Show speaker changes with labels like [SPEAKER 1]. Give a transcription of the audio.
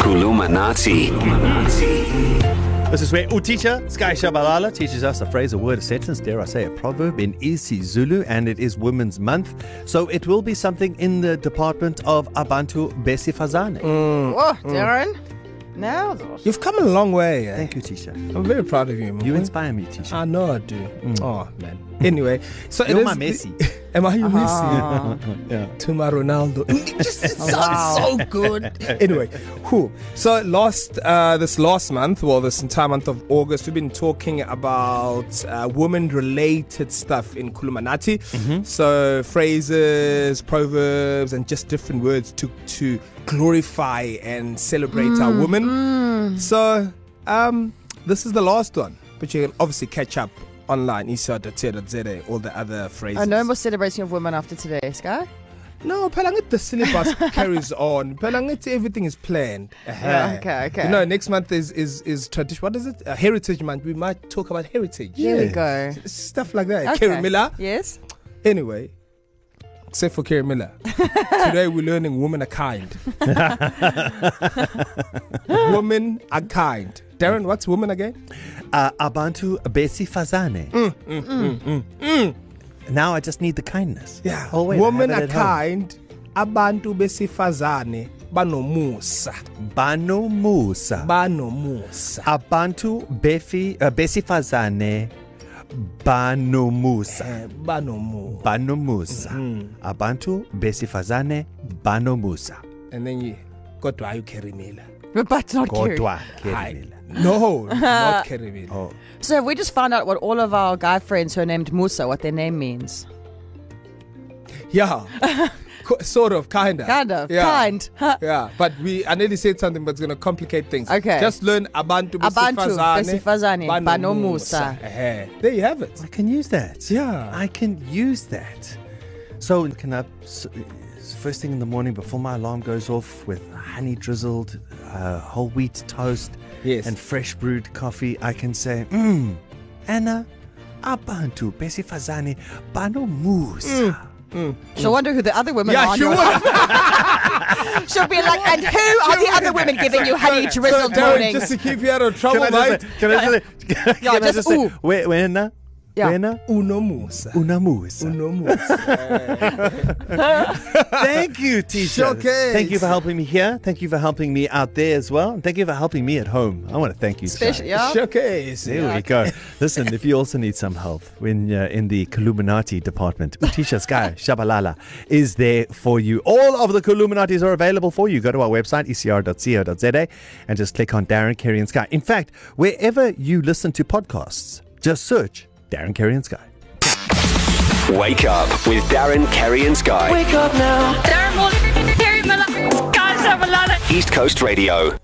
[SPEAKER 1] Kulumanati.
[SPEAKER 2] This is where Utisha Sky Shabalala teaches us a phrase, a word, a sentence, dare I say, a proverb in isiZulu, and it is Women's Month. So it will be something in the department of Abantu Besifazane.
[SPEAKER 3] Whoa, Oh,
[SPEAKER 4] Mm.
[SPEAKER 3] Darren. Now, those-
[SPEAKER 4] You've come a long way. eh?
[SPEAKER 2] Thank you, Tisha.
[SPEAKER 4] I'm very proud of you.
[SPEAKER 2] You
[SPEAKER 4] Mokwe.
[SPEAKER 2] inspire me, Tisha.
[SPEAKER 4] I know I do. Oh man. Anyway, so it
[SPEAKER 2] You're
[SPEAKER 4] is
[SPEAKER 2] my
[SPEAKER 4] the-
[SPEAKER 2] Messi. Ah.
[SPEAKER 4] Am I your Messi?
[SPEAKER 2] Yeah.
[SPEAKER 4] to my Ronaldo. It just it sounds
[SPEAKER 3] Wow.
[SPEAKER 4] so good. Anyway, who? So last uh, this last month, well, this entire month of August, we've been talking about uh, women-related stuff in Kulumanati.
[SPEAKER 2] Mm-hmm.
[SPEAKER 4] So phrases, proverbs, and just different words to to glorify and celebrate our
[SPEAKER 2] Mm,
[SPEAKER 4] women. So um, this is the last one, but you can obviously catch up online, isa.co.za, all the other phrases.
[SPEAKER 3] uh, no more celebrating of women after today, Sky.
[SPEAKER 4] No, Pelangit, the syllabus carries on. Pelangit, everything is planned. Uh-huh.
[SPEAKER 3] okay, okay.
[SPEAKER 4] You know, next month is is is tradition. What is it? Uh, heritage month. We might talk about heritage.
[SPEAKER 3] Here we go.
[SPEAKER 4] Stuff like that.
[SPEAKER 3] Okay.
[SPEAKER 4] Kerry Miller.
[SPEAKER 3] Yes.
[SPEAKER 4] Anyway, except for Kerry Miller. Today we're learning women are kind. women are kind. Darren, what's women again?
[SPEAKER 2] Uh, Abantu Besifazane. Mm, mm, Now I just need the kindness. Oh, wait, I
[SPEAKER 4] women
[SPEAKER 2] have
[SPEAKER 4] are
[SPEAKER 2] it at home.
[SPEAKER 4] kind. Abantu besifazane banomusa.
[SPEAKER 2] Bano Musa.
[SPEAKER 4] Banomusa.
[SPEAKER 2] Abantu Befi, uh, Besifazane. Bano Musa.
[SPEAKER 4] Eh, Banomusa.
[SPEAKER 2] Bano Musa.
[SPEAKER 3] Mm-hmm.
[SPEAKER 2] Abantu Besifazane. Bano Musa.
[SPEAKER 4] and then you got why you carry Miller.
[SPEAKER 3] But not Kerry.
[SPEAKER 2] Godwa
[SPEAKER 4] Hi.
[SPEAKER 2] Kerimila.
[SPEAKER 4] No, not carry Miller.
[SPEAKER 2] Oh.
[SPEAKER 3] So have we just found out what all of our guy friends who are named Musa, what their name means?
[SPEAKER 4] Yeah. Co- sort of, kinda.
[SPEAKER 3] Kind of.
[SPEAKER 4] Yeah.
[SPEAKER 3] Kind.
[SPEAKER 4] Yeah, but we I nearly said something, but it's gonna complicate things.
[SPEAKER 3] Okay.
[SPEAKER 4] Just learn abantu
[SPEAKER 3] Abantu besifazane,
[SPEAKER 4] besifazane, banomusa.
[SPEAKER 3] banomusa.
[SPEAKER 4] Eh, There you have it.
[SPEAKER 2] I can use that.
[SPEAKER 4] Yeah.
[SPEAKER 2] I can use that. So, can I, s- first thing in the morning before my alarm goes off with honey drizzled uh, whole wheat toast
[SPEAKER 4] Yes.
[SPEAKER 2] and fresh brewed coffee, I can say, mmm, Anna, abantu besifazane bano
[SPEAKER 3] Mm.
[SPEAKER 2] musa.
[SPEAKER 3] She'll wonder who the other women
[SPEAKER 4] Mm. Yeah,
[SPEAKER 3] are. on
[SPEAKER 4] you
[SPEAKER 3] your-
[SPEAKER 4] would.
[SPEAKER 3] She'll be like, and who are the other women giving you honey drizzled
[SPEAKER 4] Darren,
[SPEAKER 3] mornings?
[SPEAKER 4] just to keep you out of trouble, mate.
[SPEAKER 2] can I just say,
[SPEAKER 3] Oh, Yeah, just ooh.
[SPEAKER 2] "We- wena,
[SPEAKER 3] Yeah.
[SPEAKER 2] wena,
[SPEAKER 4] Unomusa.
[SPEAKER 2] una musa."
[SPEAKER 4] Unomusa.
[SPEAKER 2] Thank you, Tisha.
[SPEAKER 4] Showcase.
[SPEAKER 2] Thank you for helping me here. Thank you for helping me out there as well. And thank you for helping me at home. I want to thank you. Tisha.
[SPEAKER 3] Especially, yeah.
[SPEAKER 4] Showcase.
[SPEAKER 2] There we go. Listen, if you also need some help in uh, in the Columinati department, Utisha Sky Shabalala is there for you. All of the Columinatis are available for you. Go to our website, E ecr.co.za, and just click on Darren, Kerry, and Sky. In fact, wherever you listen to podcasts, just search Darren, Kerry, and Sky.
[SPEAKER 1] Wake up with Darren, Kerry, and Sky.
[SPEAKER 5] Darren Morgan, Terry Miller, Guy Savalana.
[SPEAKER 1] East Coast Radio.